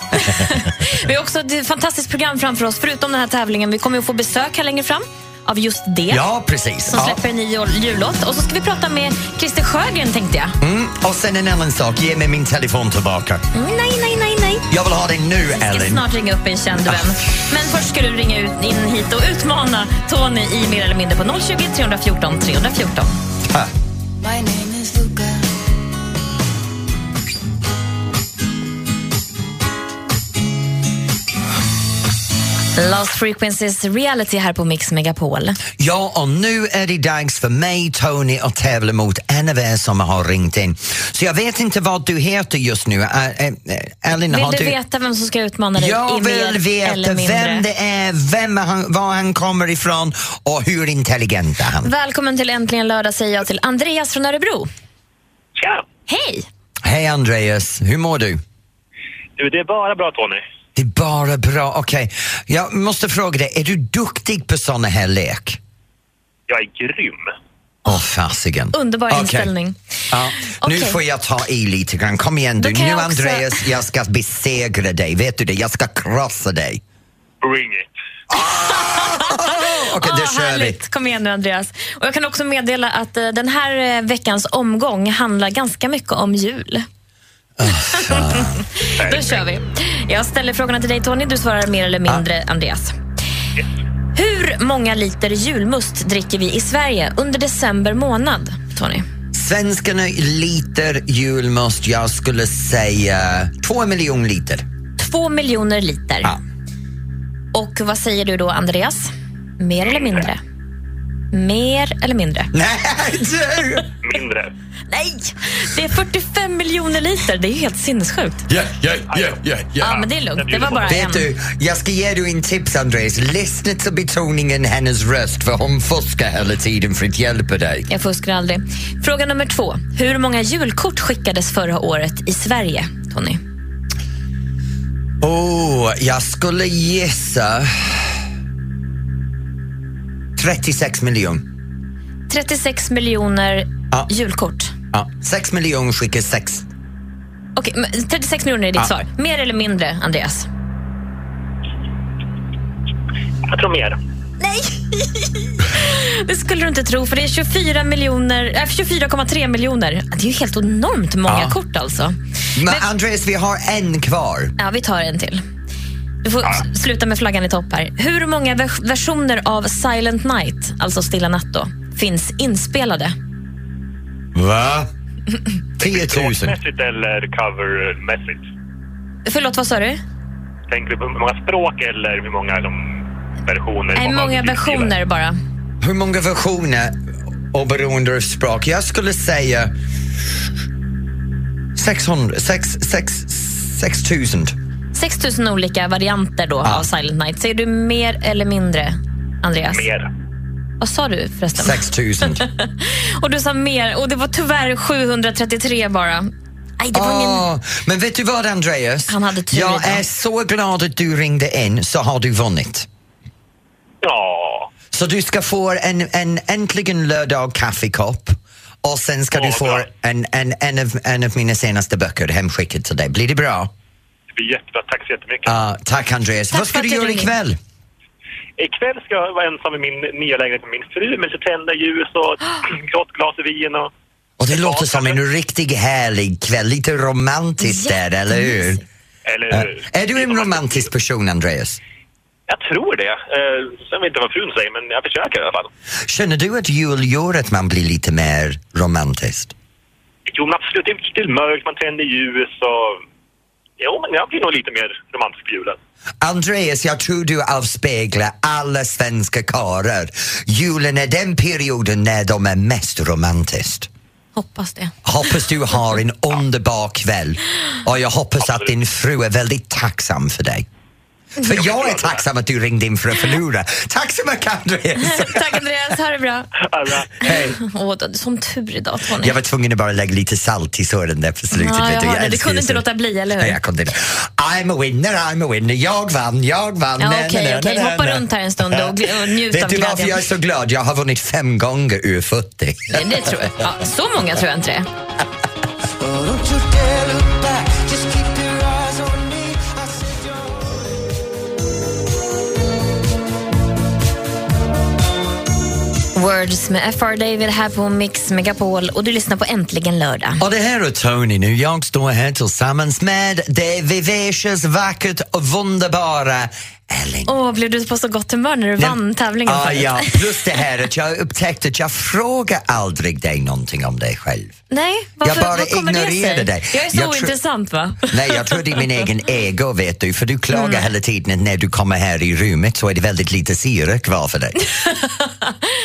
[SPEAKER 3] Vi har också ett fantastiskt program framför oss, förutom den här tävlingen. Vi kommer ju få besök här längre fram av just det.
[SPEAKER 2] Ja, precis.
[SPEAKER 3] som
[SPEAKER 2] Ja.
[SPEAKER 3] släpper en ny jul- jullåt. Och så ska vi prata med Christer Sjögren tänkte jag.
[SPEAKER 2] Mm. Och sen en annan sak, ge mig min telefon tillbaka.
[SPEAKER 3] Mm, nej, nej, nej, nej.
[SPEAKER 2] Jag vill ha den nu,
[SPEAKER 3] Jag ska
[SPEAKER 2] Ellen.
[SPEAKER 3] snart ringa upp en känd vän. Men först ska du ringa ut, in hit och utmana Tony i Mer eller mindre på 020 314 314.
[SPEAKER 2] Ha.
[SPEAKER 3] Lost Frequencies Reality här på Mix Megapol.
[SPEAKER 2] Ja, och nu är det dags för mig, Tony, att tävla mot en av er som har ringt in. Så jag vet inte vad du heter just nu. Ä- ä- ä- Ellen,
[SPEAKER 3] Vill
[SPEAKER 2] har
[SPEAKER 3] du veta vem som ska utmana dig i
[SPEAKER 2] Jag
[SPEAKER 3] Mer
[SPEAKER 2] vill veta
[SPEAKER 3] eller mindre?
[SPEAKER 2] vem det är, vem han, var han kommer ifrån och hur intelligent är han
[SPEAKER 3] Välkommen till Äntligen lördag säger jag till Andreas från Örebro.
[SPEAKER 5] Tja!
[SPEAKER 3] Hej!
[SPEAKER 2] Hej Andreas, hur mår du?
[SPEAKER 5] Du, det är bara bra Tony.
[SPEAKER 2] Det är bara bra, okej. Jag måste fråga dig, är du duktig på såna här lek?
[SPEAKER 5] Jag är grym.
[SPEAKER 2] Åh, fasiken.
[SPEAKER 3] Underbar
[SPEAKER 2] Okej.
[SPEAKER 3] inställning.
[SPEAKER 2] Ja, Nu
[SPEAKER 3] Okej.
[SPEAKER 2] får jag ta i lite grann. Kom igen du.
[SPEAKER 3] Då kan
[SPEAKER 2] Nu
[SPEAKER 3] jag också-
[SPEAKER 2] Andreas, jag ska besegra dig. Vet du det? Jag ska krossa dig.
[SPEAKER 5] Bring it.
[SPEAKER 2] Okej,
[SPEAKER 3] Ah,
[SPEAKER 2] då kör vi.
[SPEAKER 3] härligt. Kom igen nu, Andreas. Och jag kan också meddela att eh, den här eh, veckans omgång handlar ganska mycket om jul.
[SPEAKER 2] Ah,
[SPEAKER 3] <laughs> Då kör vi. Jag ställer frågorna till dig, Tony. Du svarar mer eller mindre,
[SPEAKER 2] Ah.
[SPEAKER 3] Andreas. Hur många liter julmust dricker vi i Sverige under december månad, Tony?
[SPEAKER 2] Svenskarna liter julmust. Jag skulle säga två miljoner liter. <laughs>
[SPEAKER 3] Två miljoner liter.
[SPEAKER 2] Ja.
[SPEAKER 3] Och vad säger du då, Andreas? Mer eller mindre? Mer eller mindre?
[SPEAKER 2] Nej, du!
[SPEAKER 5] Mindre.
[SPEAKER 3] Nej! Det är 45 miljoner liter. Det är ju helt sinnessjukt.
[SPEAKER 2] Ja, ja, ja, ja,
[SPEAKER 3] Ja, men det är typ- lugnt. Det var bara en.
[SPEAKER 2] Vet du, jag ska ge dig en tips Andreas. Lyssna till betoningen i hennes röst för hon fuskar hela tiden för att hjälpa dig.
[SPEAKER 3] Jag fuskar aldrig. Fråga nummer två. Hur många julkort skickades förra året i Sverige, Tony?
[SPEAKER 2] Åh, jag skulle gissa 36 miljoner.
[SPEAKER 3] 36 miljoner
[SPEAKER 2] Ja.
[SPEAKER 3] julkort.
[SPEAKER 2] Ja. 6 miljoner skickar 6.
[SPEAKER 3] Okej, men 36 miljoner är ditt svar. Mer eller mindre, Andreas?
[SPEAKER 5] Jag tror mer.
[SPEAKER 3] Det skulle du inte tro, för det är 24 miljoner, äh, 24,3 miljoner. Det är ju helt enormt många
[SPEAKER 2] Ja.
[SPEAKER 3] kort alltså.
[SPEAKER 2] Men,
[SPEAKER 3] Men-
[SPEAKER 2] Andreas, vi har en kvar.
[SPEAKER 3] Ja, vi tar en till. Du får s- sluta med flaggan i topp här. Hur många vers- versioner av Silent Night, alltså Stilla natt då, finns inspelade?
[SPEAKER 2] Va? 10 000.
[SPEAKER 5] Språkmässigt eller covermässigt?
[SPEAKER 3] Förlåt, vad sa du?
[SPEAKER 5] Tänker du på hur många språk eller hur många de...
[SPEAKER 7] versioner.
[SPEAKER 3] Nej,
[SPEAKER 7] av
[SPEAKER 3] många
[SPEAKER 7] utgivare.
[SPEAKER 3] versioner bara.
[SPEAKER 2] Hur många versioner och beroende av språk? Jag skulle säga 600, 6, 6,
[SPEAKER 3] <laughs>
[SPEAKER 2] 6000.
[SPEAKER 3] 6 000 olika varianter då av Silent Night. Säger du mer eller mindre, Andreas?
[SPEAKER 7] Mer.
[SPEAKER 3] Vad sa du förresten?
[SPEAKER 2] 6000.
[SPEAKER 3] Och du sa mer, och det var tyvärr 733 bara. Nej, det var ingen...
[SPEAKER 2] Åh, men vet du vad Andreas?
[SPEAKER 3] Han hade tur
[SPEAKER 2] Jag
[SPEAKER 3] idag.
[SPEAKER 2] är så glad att du ringde in så har du vunnit.
[SPEAKER 7] Ja.
[SPEAKER 2] Så du ska få en, en äntligen lördag kaffekopp och sen ska du
[SPEAKER 7] Åh,
[SPEAKER 2] få
[SPEAKER 7] bra.
[SPEAKER 2] en, en, en, av, en av mina senaste böcker hemskickad till dig. Blir det bra?
[SPEAKER 7] Det blir jättebra. Tack så jättemycket.
[SPEAKER 2] Ja, tack Andreas.
[SPEAKER 3] Tack
[SPEAKER 2] vad ska
[SPEAKER 3] för
[SPEAKER 2] du
[SPEAKER 3] att du
[SPEAKER 2] göra
[SPEAKER 3] ringde.
[SPEAKER 2] ikväll?
[SPEAKER 7] Ikväll ska jag vara ensam i min nya lägenhet med min fru men så tända ljus
[SPEAKER 3] <gasps>
[SPEAKER 7] och ett gott glas vin och...
[SPEAKER 2] Och det
[SPEAKER 7] Ja,
[SPEAKER 2] låter som
[SPEAKER 7] kanske.
[SPEAKER 2] en riktigt härlig kväll. Lite romantiskt där, eller hur?
[SPEAKER 3] Jättemysigt.
[SPEAKER 7] Eller
[SPEAKER 2] Ja.
[SPEAKER 7] hur?
[SPEAKER 2] Är du en romantisk person, Andreas?
[SPEAKER 7] Jag tror det. Eh, sen vet jag inte vad frun säger, men jag försöker i alla fall.
[SPEAKER 2] Känner du att jul gör att man blir lite mer romantisk?
[SPEAKER 7] Jo, men absolut. Det är lite mörkt, man tänder ljus och... Jo, men jag blir nog lite mer romantisk på julen.
[SPEAKER 2] Andreas, jag tror du avspeglar alla svenska karlar. Julen är den perioden när de är mest romantiskt.
[SPEAKER 3] Hoppas det.
[SPEAKER 2] Hoppas du har
[SPEAKER 3] <laughs>
[SPEAKER 2] en underbar kväll och jag hoppas att din fru är väldigt tacksam för dig. För jag är tacksam att du ringde in för att förlora. Tack så mycket
[SPEAKER 3] <laughs>
[SPEAKER 2] Andreas!
[SPEAKER 3] Tack Andreas, ha det bra.
[SPEAKER 7] Alla.
[SPEAKER 2] Hej.
[SPEAKER 3] Åh, du hade sån tur idag Tony.
[SPEAKER 2] Jag var tvungen att bara lägga lite salt i såren där på slutet.
[SPEAKER 3] Ja, jag
[SPEAKER 2] vet du.
[SPEAKER 3] hörde. Det
[SPEAKER 2] älskar
[SPEAKER 3] kunde
[SPEAKER 2] ju
[SPEAKER 3] inte
[SPEAKER 2] sånt.
[SPEAKER 3] låta bli, eller hur?
[SPEAKER 2] Nej, jag kunde inte. I'm a winner, I'm a winner. Jag vann, jag vann.
[SPEAKER 3] Ja,
[SPEAKER 2] Nej,
[SPEAKER 3] okej,
[SPEAKER 2] nej, nej,
[SPEAKER 3] okej.
[SPEAKER 2] nej,
[SPEAKER 3] Hoppa
[SPEAKER 2] nej.
[SPEAKER 3] runt här en stund och gl- och
[SPEAKER 2] <laughs>
[SPEAKER 3] njut
[SPEAKER 2] Vet
[SPEAKER 3] av
[SPEAKER 2] du
[SPEAKER 3] glädjen.
[SPEAKER 2] varför jag är så glad? Jag har vunnit fem gånger ur 40.
[SPEAKER 3] Det, det tror jag. Ja, så många tror jag inte det Words med FR David här på Mix Megapol och du lyssnar på Äntligen lördag.
[SPEAKER 2] Och det här är Tony nu. Jag står här tillsammans med det vivacious, vackert och underbara Ellen.
[SPEAKER 3] Åh, blev du på så gott humör när du vann tävlingen
[SPEAKER 2] ah,
[SPEAKER 3] förut?
[SPEAKER 2] ja. Plus det här att jag upptäckte att jag frågar aldrig dig någonting om dig själv.
[SPEAKER 3] Nej, varför,
[SPEAKER 2] Jag bara
[SPEAKER 3] vad kommer det
[SPEAKER 2] ignorerade
[SPEAKER 3] sig?
[SPEAKER 2] dig.
[SPEAKER 3] Jag är så
[SPEAKER 2] Jag tror-
[SPEAKER 3] ointressant va? <laughs>
[SPEAKER 2] Nej, jag tror det är min egen ego, vet du. För du klagar
[SPEAKER 3] Mm.
[SPEAKER 2] hela tiden att när du kommer här i rummet så är det väldigt lite syre kvar för dig.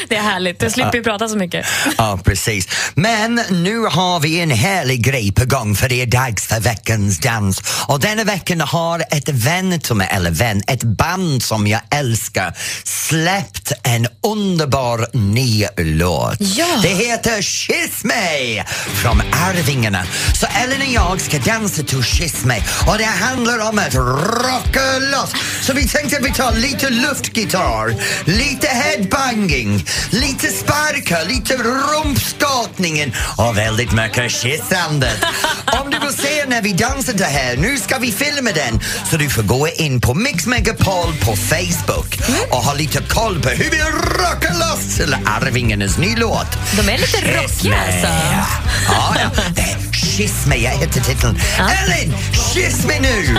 [SPEAKER 3] Det är härligt, du slipper ju prata så mycket.
[SPEAKER 2] <laughs> Ja, precis. Men nu har vi en härlig grej på gång för det är dags för veckans dans. Och denna veckan har ett vän till mig, eller vän, ett band som jag älskar släppt en underbar ny låt.
[SPEAKER 3] Ja.
[SPEAKER 2] Det heter Kyss mig från Arvingarna. Så Ellen och jag ska dansa till Kyss mig och det handlar om att rocka loss. Så vi tänkte att vi tar lite luftgitarr, lite headbanging, lite sparka, lite rumpskakningen och väldigt mycket kyssandet. Om du vill se när vi dansar det här, nu ska vi filma den så du får gå in på Mix Megapol på Facebook och ha lite koll på hur vi rockar loss till Arvingarnas ny låt.
[SPEAKER 3] De är lite
[SPEAKER 2] Kyss
[SPEAKER 3] rockiga,
[SPEAKER 2] mig.
[SPEAKER 3] alltså.
[SPEAKER 2] Ja, ja. Det är Kyss mig, jag heter titeln. Ellen, kyss mig nu!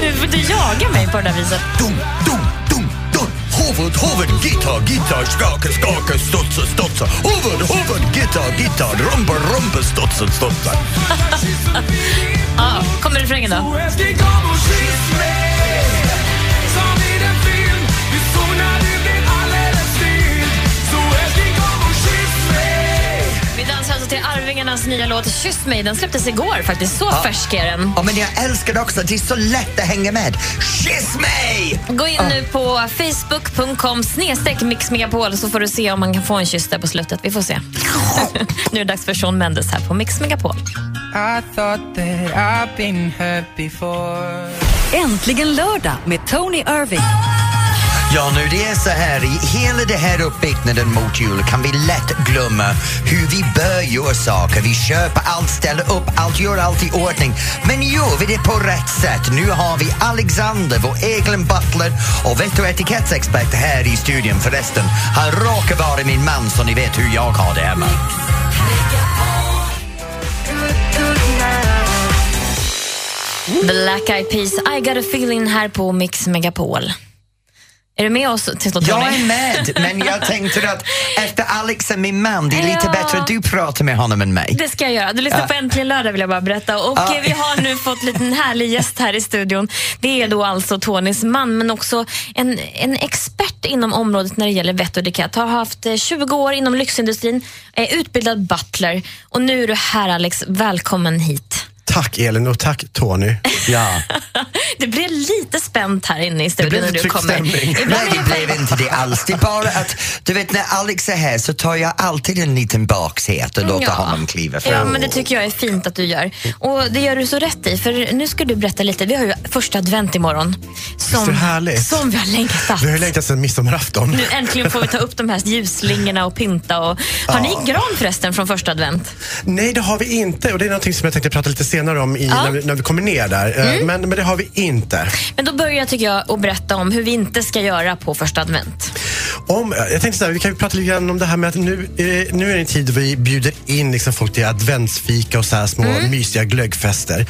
[SPEAKER 3] Nu får du jaga mig på det där viset.
[SPEAKER 2] Dum, dum, dum, dum. Huvud, huvud, gitarr, gitarr, skaka, skaka, studsa, studsa. Huvud, huvud, gitarr, gitarr, rumpa, rumpa, studsa, studsa.
[SPEAKER 3] Ja, kommer refrängen då? Vi dansar alltså till Arvingarnas nya låt Kyss mig. Den släpptes igår faktiskt. Så färsk är den.
[SPEAKER 2] Ja, men jag älskar det också, det är så lätt att hänga med. Kyss mig!
[SPEAKER 3] Gå in nu på facebook.com snedstreck mixmegapol så får du se om man kan få en kyss där på slutet. Vi får se. <laughs> nu är det dags för Shawn Mendes här på Mix Megapol.
[SPEAKER 1] Äntligen lördag med Tony Irving.
[SPEAKER 2] Ja, nu det är så här, i hela det här uppbyggnaden mot jul kan vi lätt glömma hur vi bör göra saker. Vi köper allt, ställer upp allt, gör allt i ordning. Men gör vi det på rätt sätt? Nu har vi Alexander, vår egen butler och vett och etikettsexpert här i studion förresten. Han råkar vara min man så ni vet hur jag har det hemma.
[SPEAKER 3] Black Eyed Peas, I got a feeling här på Mix Megapol. Är du med oss till Tony?
[SPEAKER 2] Jag är med, men jag tänkte att efter Alex är min man, det är lite
[SPEAKER 3] Ja.
[SPEAKER 2] bättre att du pratar med honom än mig.
[SPEAKER 3] Det ska jag göra. Du lyssnar
[SPEAKER 2] Ja.
[SPEAKER 3] på Äntligen lördag vill jag bara berätta. Och
[SPEAKER 2] Ja.
[SPEAKER 3] eh, vi har nu fått en liten härlig gäst här i studion. Det är då alltså Tonys man, men också en, en expert inom området när det gäller vett och dekett. Har haft eh, 20 år inom lyxindustrin, är utbildad butler och nu är du här Alex.
[SPEAKER 2] <laughs>
[SPEAKER 3] Välkommen hit.
[SPEAKER 8] <laughs> Tack Elin och tack Tony.
[SPEAKER 2] Ja.
[SPEAKER 3] Det blev lite spänt här inne i studion
[SPEAKER 8] blev
[SPEAKER 3] när du
[SPEAKER 8] tryckt
[SPEAKER 3] kommer.
[SPEAKER 8] stämning.
[SPEAKER 2] <laughs> Nej,
[SPEAKER 3] Ibland är
[SPEAKER 2] det
[SPEAKER 3] det
[SPEAKER 2] blev inte det alls. Det är bara att, du vet när Alex är här så tar jag alltid en liten baksäte och låter honom kliva fram.
[SPEAKER 3] Mm, Ja, men det tycker jag är fint att du gör. Och det gör du så rätt i, för nu ska du berätta lite. Vi har ju första advent imorgon. Som,
[SPEAKER 8] Visst är det härligt?
[SPEAKER 3] som vi har längtat.
[SPEAKER 8] Vi har ju längtat sedan midsommarafton.
[SPEAKER 3] Nu äntligen får vi ta upp de här ljusslingorna och pynta. Och... Har ni gran förresten från första advent?
[SPEAKER 8] Nej, det har vi inte och det är någonting som jag tänkte prata lite senare om i, när, vi, när vi kommer ner där. Eh, Men, men det har vi inte.
[SPEAKER 3] Men då börjar jag tycker jag att berätta om hur vi inte ska göra på första advent.
[SPEAKER 8] Om, jag tänkte så här, vi kan ju prata lite grann om det här med att nu, eh, nu är det en tid då vi bjuder in liksom folk till adventsfika och så här små
[SPEAKER 3] Mm.
[SPEAKER 8] mysiga glöggfester.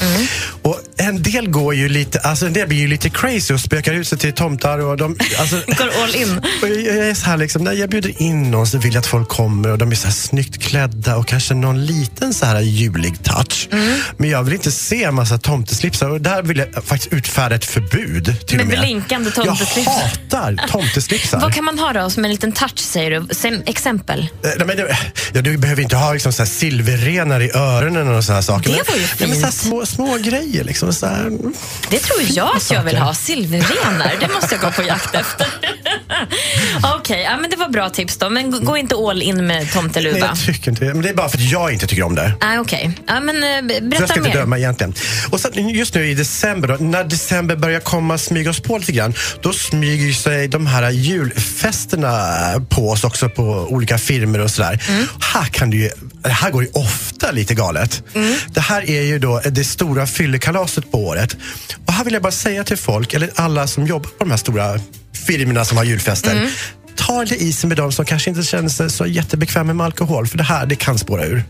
[SPEAKER 8] Och en del går ju lite, alltså en del blir ju lite crazy och spökar ut sig till tomtar och de,
[SPEAKER 3] <laughs>
[SPEAKER 8] alltså,
[SPEAKER 3] Går all
[SPEAKER 8] <laughs>
[SPEAKER 3] in.
[SPEAKER 8] Och jag, jag är så här liksom, när jag bjuder in någon så vill jag att folk kommer och de är så här snyggt klädda och kanske någon liten så här julig touch.
[SPEAKER 3] Mm.
[SPEAKER 8] Men jag vill inte se en massa tomteslipsar och där vill jag faktiskt utfärda ett förbud till
[SPEAKER 3] Med
[SPEAKER 8] och med.
[SPEAKER 3] blinkande tomteslipsar.
[SPEAKER 8] Jag hatar
[SPEAKER 3] <laughs>
[SPEAKER 8] tomteslipsar.
[SPEAKER 3] Vad kan man ha då som en liten touch säger du? Sem- exempel.
[SPEAKER 8] Eh, Nej, men det, ja, du behöver inte ha liksom, så här silverrenar i öronen och sådana saker.
[SPEAKER 3] Det
[SPEAKER 8] men,
[SPEAKER 3] var ju
[SPEAKER 8] ja, men, så här,
[SPEAKER 3] fint.
[SPEAKER 8] små, små grejer liksom. Så här.
[SPEAKER 3] Det tror jag att jag vill ha. Silverrenar, det måste jag gå på jakt
[SPEAKER 8] <laughs>
[SPEAKER 3] efter. Okej, ja, men det var bra tips då. Men gå- gå inte all in med
[SPEAKER 8] Nej,
[SPEAKER 3] tomteluva.
[SPEAKER 8] jag tycker inte det. Men det är bara för att jag inte tycker om det.
[SPEAKER 3] Nej, okej. Ja, men eh, be-
[SPEAKER 8] Så jag
[SPEAKER 3] berätta
[SPEAKER 8] ska inte
[SPEAKER 3] mer.
[SPEAKER 8] döma egentligen. Och sen, just nu i december, då, när december börjar komma smyga oss på lite grann, då smyger ju sig de här julfesterna på oss också på olika firmer och sådär.
[SPEAKER 3] Mm.
[SPEAKER 8] Här, kan det ju, här går det ju ofta lite galet.
[SPEAKER 3] Mm.
[SPEAKER 8] Det här är ju då det stora fyllekalaset på året. Och här vill jag bara säga till folk, eller alla som jobbar på de här stora firmerna som har julfester,
[SPEAKER 3] Mm.
[SPEAKER 8] Ta lite isen med dem som kanske inte känner sig så jättebekväma med alkohol, för det här det kan spåra ur.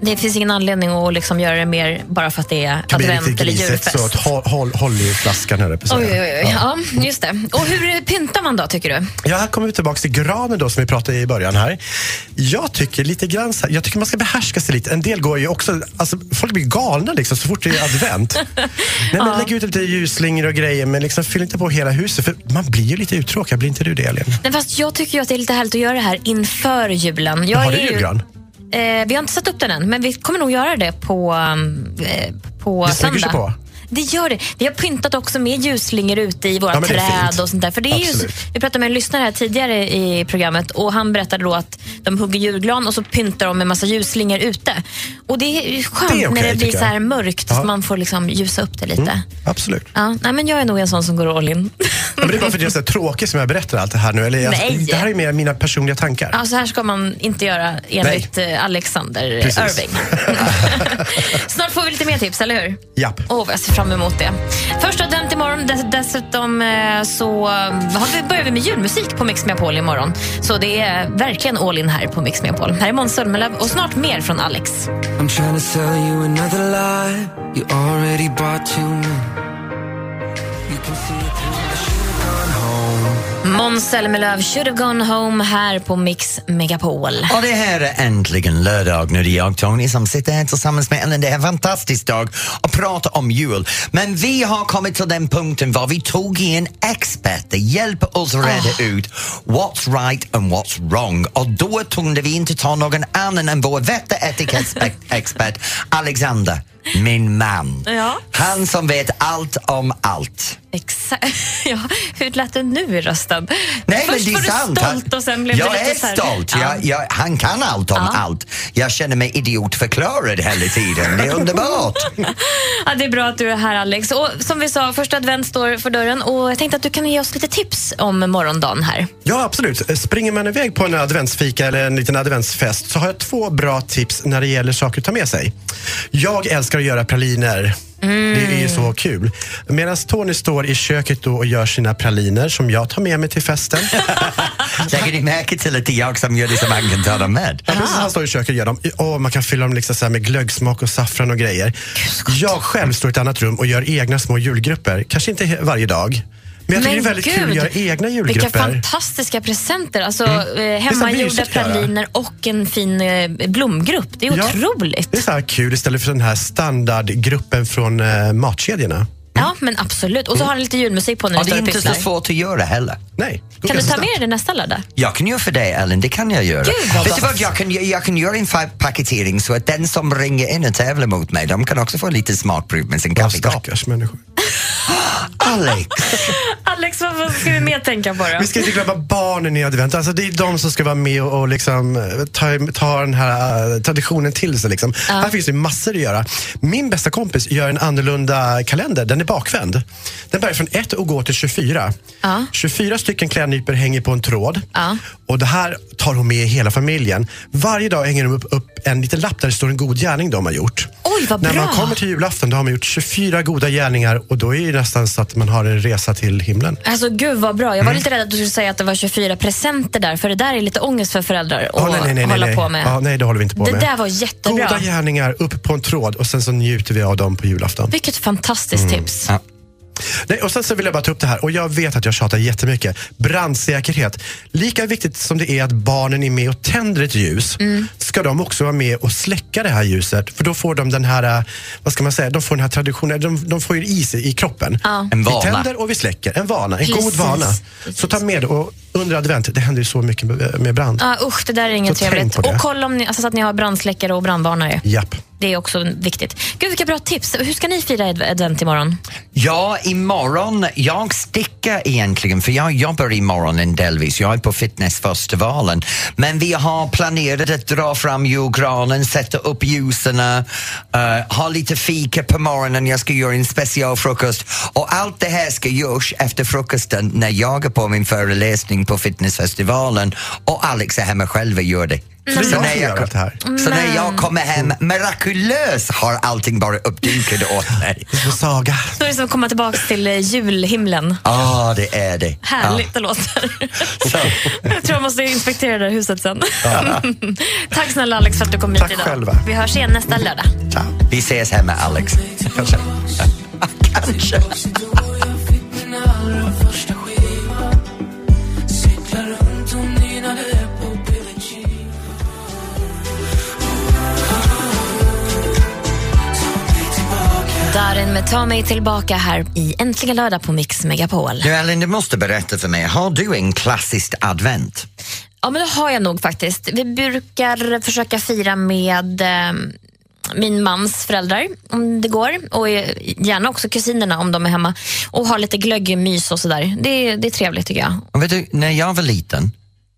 [SPEAKER 3] Det finns ingen anledning att liksom göra det mer bara för att det är
[SPEAKER 8] kan bli
[SPEAKER 3] advent
[SPEAKER 8] riktigt
[SPEAKER 3] eller
[SPEAKER 8] grisigt. Så att
[SPEAKER 3] julfest.
[SPEAKER 8] håll, håll, håll i flaskan höll jag på att
[SPEAKER 3] Oj,
[SPEAKER 8] säga.
[SPEAKER 3] oj, oj. Ja, just det. Och hur pyntar man då, tycker du?
[SPEAKER 8] Ja, här kommer vi tillbaka till granen då som vi pratade i början här. Jag tycker lite grann så här, jag tycker man ska behärska sig lite. En del går ju också, alltså folk blir galna liksom så fort det
[SPEAKER 3] <laughs>
[SPEAKER 8] är advent. Nej, men Lägg ut lite ljusslingor och grejer men liksom fyll inte på hela huset för man blir ju lite uttråkad, blir inte du det Elin?
[SPEAKER 3] Nej, fast jag tycker ju att det är lite härligt att göra det här inför julen. Jag
[SPEAKER 8] Har du
[SPEAKER 3] är ju-
[SPEAKER 8] julgran?
[SPEAKER 3] Eh, vi har inte satt upp den än, men vi kommer nog göra det på, um, eh, på
[SPEAKER 8] Det smyger
[SPEAKER 3] söndag.
[SPEAKER 8] sig på.
[SPEAKER 3] Det gör det. Vi har pyntat också med ljusslingor ute i våra
[SPEAKER 8] Ja, men det är
[SPEAKER 3] träd
[SPEAKER 8] fint.
[SPEAKER 3] och sånt där. För det är ju,
[SPEAKER 8] Absolut.
[SPEAKER 3] vi pratade med en lyssnare här tidigare i programmet och han berättade då att de hugger julgran och så pyntar de med massa ljusslingor ute. Och det är ju skönt
[SPEAKER 8] Det är okej,
[SPEAKER 3] när det blir
[SPEAKER 8] tycker
[SPEAKER 3] så här
[SPEAKER 8] jag.
[SPEAKER 3] mörkt
[SPEAKER 8] Ja.
[SPEAKER 3] så man får liksom ljusa upp det lite.
[SPEAKER 8] Absolut.
[SPEAKER 3] Ja, nej, men jag är nog en sån som går all in.
[SPEAKER 8] Ja, men det är bara för att jag är så här tråkig som jag berättar allt det här nu. Eller, jag-
[SPEAKER 3] Nej.
[SPEAKER 8] Det här är mer mina personliga tankar.
[SPEAKER 3] Ja, så här ska man inte göra enligt eh, Alexander
[SPEAKER 8] Precis.
[SPEAKER 3] Irving. Snart får vi lite mer tips, eller hur?
[SPEAKER 8] Japp.
[SPEAKER 3] Åh, vad jag ser fram emot det. Första advent imorgon. Dess- dessutom eh, så har vi, börjar vi med julmusik på Mix Megapol imorgon. Så det är verkligen all in här på Mix Megapol. Här är Måns Zelmerlöw och snart mer från Alex.
[SPEAKER 9] I'm trying to sell you another lie. You already bought too many. You can see it through the shoes on home.
[SPEAKER 3] Måns Zelmerlöw, Should have gone home här på Mix Megapol.
[SPEAKER 2] Och det här är äntligen lördag. Nu är det jag, Tony, som sitter här tillsammans med Ellen. Det är en fantastisk dag att prata om jul. Men vi har kommit till den punkten var vi tog in experter, hjälper oss reda ut what's right and what's wrong. Och då kunde vi inte ta någon annan än vår vett och etikettexpert Alexander, min man.
[SPEAKER 3] Ja.
[SPEAKER 2] Han som vet allt om allt.
[SPEAKER 3] Exakt. <laughs> Ja, hur lät det nu i rösten?
[SPEAKER 2] Nej,
[SPEAKER 3] Först
[SPEAKER 2] men det är
[SPEAKER 3] var
[SPEAKER 2] sant.
[SPEAKER 3] du stolt och sen blev
[SPEAKER 2] jag
[SPEAKER 3] du lite så
[SPEAKER 2] är
[SPEAKER 3] här-
[SPEAKER 2] stolt. Jag, jag, han kan allt om
[SPEAKER 3] Ja.
[SPEAKER 2] allt. Jag känner mig idiotförklarad hela tiden.
[SPEAKER 3] <laughs>
[SPEAKER 2] Det är underbart.
[SPEAKER 3] Ja, det är bra att du är här Alex. Och som vi sa, första advent står för dörren och jag tänkte att du kan ge oss lite tips om morgondagen här.
[SPEAKER 8] Ja, absolut. Springer man iväg på en adventsfika eller en liten adventsfest så har jag två bra tips när det gäller saker att ta med sig. Jag älskar att göra praliner. Det är ju så kul. Medan Tony står i köket då och gör sina praliner som jag tar med mig
[SPEAKER 3] <laughs>
[SPEAKER 8] till festen.
[SPEAKER 2] Lägger ni märke till att det är jag som gör det som han kan ta dem med?
[SPEAKER 8] Ja, precis, han står i köket och gör dem. Åh, man kan fylla dem liksom så här med glöggsmak och saffran och grejer. Jag själv står i ett annat rum och gör egna små julgrupper. Kanske inte he- varje dag. Men jag tycker
[SPEAKER 3] Men
[SPEAKER 8] det är väldigt kul
[SPEAKER 3] gud,
[SPEAKER 8] att göra egna
[SPEAKER 3] Vilka
[SPEAKER 8] julgrupper. Mm.
[SPEAKER 3] fantastiska presenter. Alltså, eh,
[SPEAKER 8] Det är så
[SPEAKER 3] hemmagjorda
[SPEAKER 8] mysigt, Clara.
[SPEAKER 3] praliner och en fin eh, blomgrupp. Det är
[SPEAKER 8] Ja.
[SPEAKER 3] otroligt.
[SPEAKER 8] Det är så här kul istället för den här standardgruppen från eh, matkedjorna.
[SPEAKER 3] Ja, men absolut.
[SPEAKER 8] Mm.
[SPEAKER 3] Och så har ni lite julmusik på när
[SPEAKER 2] Och
[SPEAKER 3] ni
[SPEAKER 2] det
[SPEAKER 3] står
[SPEAKER 2] är
[SPEAKER 3] och
[SPEAKER 2] inte så
[SPEAKER 3] pysslar.
[SPEAKER 2] svårt att göra heller.
[SPEAKER 8] Nej. går
[SPEAKER 3] Kan du
[SPEAKER 8] ganska
[SPEAKER 3] ta med dig det nästa
[SPEAKER 8] <laughs>
[SPEAKER 3] lördag?
[SPEAKER 2] Jag kan göra för dig Ellen, det kan jag göra.
[SPEAKER 3] Gud,
[SPEAKER 2] Vet
[SPEAKER 3] vad
[SPEAKER 2] du
[SPEAKER 3] gott.
[SPEAKER 2] vad, jag kan, jag kan göra en fa- paketering så att den som ringer in och tävlar mot mig, de kan också få lite smakprov med sin
[SPEAKER 8] snabbt. Ja,
[SPEAKER 2] kaffekopp.
[SPEAKER 8] stackars människor.
[SPEAKER 2] Alex!
[SPEAKER 3] Alex, vad, vad ska vi mer tänka på då?
[SPEAKER 8] Vi ska inte glömma barnen i advent. Alltså, det är de som ska vara med och, och liksom, eh, ta, ta den här eh, traditionen till sig. Liksom. Här finns det massor att göra. Min bästa kompis gör en annorlunda kalender. Den är bakvänd. Den börjar från 1 och går till 24. 24 stycken klädnypor hänger på en tråd.
[SPEAKER 3] Ja.
[SPEAKER 8] Och Det här tar hon med hela familjen. Varje dag hänger de upp, upp en liten lapp där det står en god gärning de har gjort.
[SPEAKER 3] Oj, vad
[SPEAKER 8] När
[SPEAKER 3] bra.
[SPEAKER 8] man kommer till julafton då har man gjort 24 goda gärningar och då är det nästan så att man har en resa till himlen.
[SPEAKER 3] Alltså gud vad bra.
[SPEAKER 8] Mm.
[SPEAKER 3] Jag var lite rädd att du skulle säga att det var 24 presenter där, för det där är lite ångest för föräldrar att
[SPEAKER 8] Ja, nej, nej, nej,
[SPEAKER 3] hålla
[SPEAKER 8] nej.
[SPEAKER 3] på med.
[SPEAKER 8] Ja, nej, det håller vi inte på
[SPEAKER 3] det
[SPEAKER 8] med.
[SPEAKER 3] där var jättebra.
[SPEAKER 8] Goda gärningar upp på en tråd och sen så njuter vi av dem på julafton.
[SPEAKER 3] Vilket fantastiskt
[SPEAKER 8] Mm.
[SPEAKER 3] tips.
[SPEAKER 2] Ja.
[SPEAKER 8] Nej, och sen så vill jag bara ta upp det här och jag vet att jag tjatar jättemycket. Brandsäkerhet. Lika viktigt som det är att barnen är med och tänder ett ljus
[SPEAKER 3] Mm.
[SPEAKER 8] ska de också vara med och släcka det här ljuset. För då får de den här, eh, vad ska man säga, de får den här traditionen, de, de får ju i sig i kroppen.
[SPEAKER 2] En
[SPEAKER 8] Vi
[SPEAKER 2] vana.
[SPEAKER 8] tänder och vi släcker. En vana, en god
[SPEAKER 3] Precis.
[SPEAKER 8] vana. Så ta med det och under advent, det händer ju så mycket med med brand.
[SPEAKER 3] Ja, usch, det där är inget
[SPEAKER 8] Så tänk
[SPEAKER 3] trevligt.
[SPEAKER 8] på det.
[SPEAKER 3] Och kolla om ni, alltså, så att ni har brandsläckare och brandvarnare.
[SPEAKER 8] Japp.
[SPEAKER 3] Det är också viktigt. Gud, vilka bra tips. Hur ska ni fira adv- advent imorgon?
[SPEAKER 2] Ja, imorgon, jag sticker egentligen för jag jobbar imorgon en delvis. Jag är på fitnessfestivalen. Men vi har planerat att dra fram julgranen, sätta upp ljusen, eh, ha lite fika på morgonen. Jag ska göra en specialfrukost och allt det här ska göras efter frukosten när jag är på min föreläsning på fitnessfestivalen och Alex är hemma själv och gör det.
[SPEAKER 8] Så jag ska
[SPEAKER 2] när
[SPEAKER 8] göra allt det här.
[SPEAKER 2] så när jag kommer hem, mirakulöst har allting bara uppdukat åt mig.
[SPEAKER 8] Det är Saga.
[SPEAKER 3] Då är det som att komma tillbaka till eh, julhimlen.
[SPEAKER 2] Ja, Ah, det är det.
[SPEAKER 3] Härligt det
[SPEAKER 8] <laughs>
[SPEAKER 3] låter.
[SPEAKER 2] Ja. Så,
[SPEAKER 3] Jag tror jag måste inspektera det där huset sen. <laughs> Tack snälla Alex för att du kom hit
[SPEAKER 8] Tack
[SPEAKER 3] idag.
[SPEAKER 8] själva.
[SPEAKER 3] Vi hörs igen nästa lördag.
[SPEAKER 8] Ciao.
[SPEAKER 2] vi ses hemma, Alex. Kanske. Kanske.
[SPEAKER 3] Darin med Ta mig tillbaka här i Äntligen lördag på Mix Megapol.
[SPEAKER 2] Nu Ellen, du måste berätta för mig, har du en klassisk advent?
[SPEAKER 3] Ja, men det har jag nog faktiskt. Vi brukar försöka fira med eh, min mans föräldrar om det går och eh, gärna också kusinerna om de är hemma och ha lite glöggmys och sådär. Det, det är trevligt tycker jag.
[SPEAKER 2] Och vet du, när jag var liten,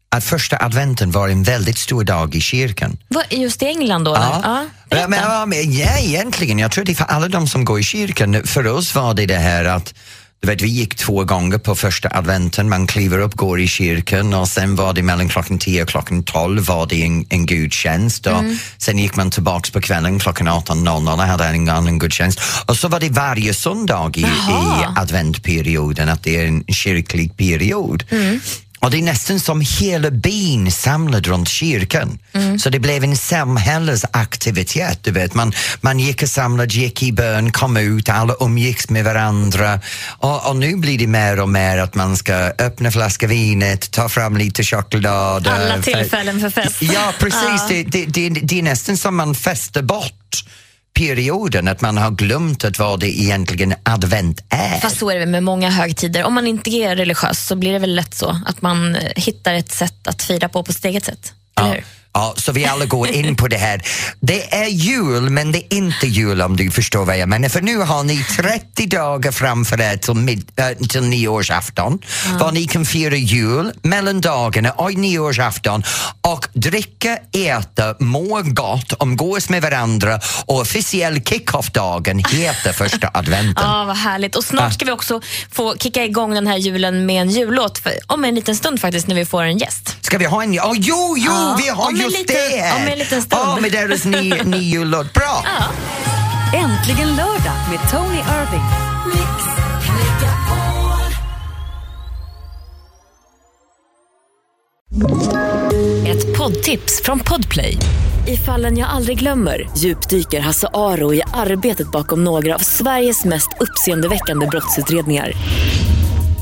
[SPEAKER 2] att första adventen var en väldigt stor dag i kyrkan.
[SPEAKER 3] Vad, just i England då? eller? Ja,
[SPEAKER 2] Ja, men,
[SPEAKER 3] berätta.
[SPEAKER 2] ja, men, ja, egentligen. Jag tror det är för alla de som går i kyrkan. För oss var det det här att du vet, vi gick två gånger på första adventen, man kliver upp, går i kyrkan och sen var det mellan klockan 10 och klockan 12 var det en, en gudstjänst och sen gick man tillbaks på kvällen klockan 18.00 och hade en annan gudstjänst. Och så var det varje söndag i, i
[SPEAKER 3] Jaha.
[SPEAKER 2] adventperioden, att det är en kyrklig period.
[SPEAKER 3] Mm.
[SPEAKER 2] Och det är nästan som hela byn samlad runt kyrkan.
[SPEAKER 3] Mm.
[SPEAKER 2] Så det blev en samhällsaktivitet, du vet. Man, man gick och samlade, gick i bön, kom ut, alla umgicks med varandra. Och, och nu blir det mer och mer att man ska öppna flaska vinet, ta fram lite choklad.
[SPEAKER 3] Alla
[SPEAKER 2] eh,
[SPEAKER 3] tillfällen för fest.
[SPEAKER 2] Ja, precis.
[SPEAKER 3] Ja.
[SPEAKER 2] Det, det, det, det är nästan som man fäster bort perioden, att man har glömt att vad det egentligen advent är.
[SPEAKER 3] Fast så är det väl med många högtider. Om man inte är religiös så blir det väl lätt så att man eh, hittar ett sätt att fira på på sitt eget sätt. Eller
[SPEAKER 2] Ja.
[SPEAKER 3] hur?
[SPEAKER 2] Ja, så vi alla går in på det här. Det är jul, men det är inte jul om du förstår vad jag menar. För nu har ni 30 dagar framför er till, mid- äh, till nyårsafton var ni kan fira jul mellan dagarna och nyårsafton och dricka, äta, må gott, umgås med varandra och officiell kick-off-dagen heter första adventen.
[SPEAKER 3] Ja, vad härligt. Och snart ska vi också få kicka igång den här julen med en jullåt. För, om en liten stund faktiskt, när vi får en gäst.
[SPEAKER 2] Ska vi ha en... Oh, jo, jo,
[SPEAKER 3] Ja,
[SPEAKER 2] vi har
[SPEAKER 3] om en
[SPEAKER 2] just
[SPEAKER 3] liten-
[SPEAKER 2] det! här.
[SPEAKER 3] om en liten stund.
[SPEAKER 2] Ja, med deras ny, ny jullåt. Bra!
[SPEAKER 1] Äntligen lördag med Tony Irving.
[SPEAKER 10] Ett poddtips från Podplay. I fallen jag aldrig glömmer djupdyker Hasse Aro i arbetet bakom några av Sveriges mest uppseendeväckande brottsutredningar.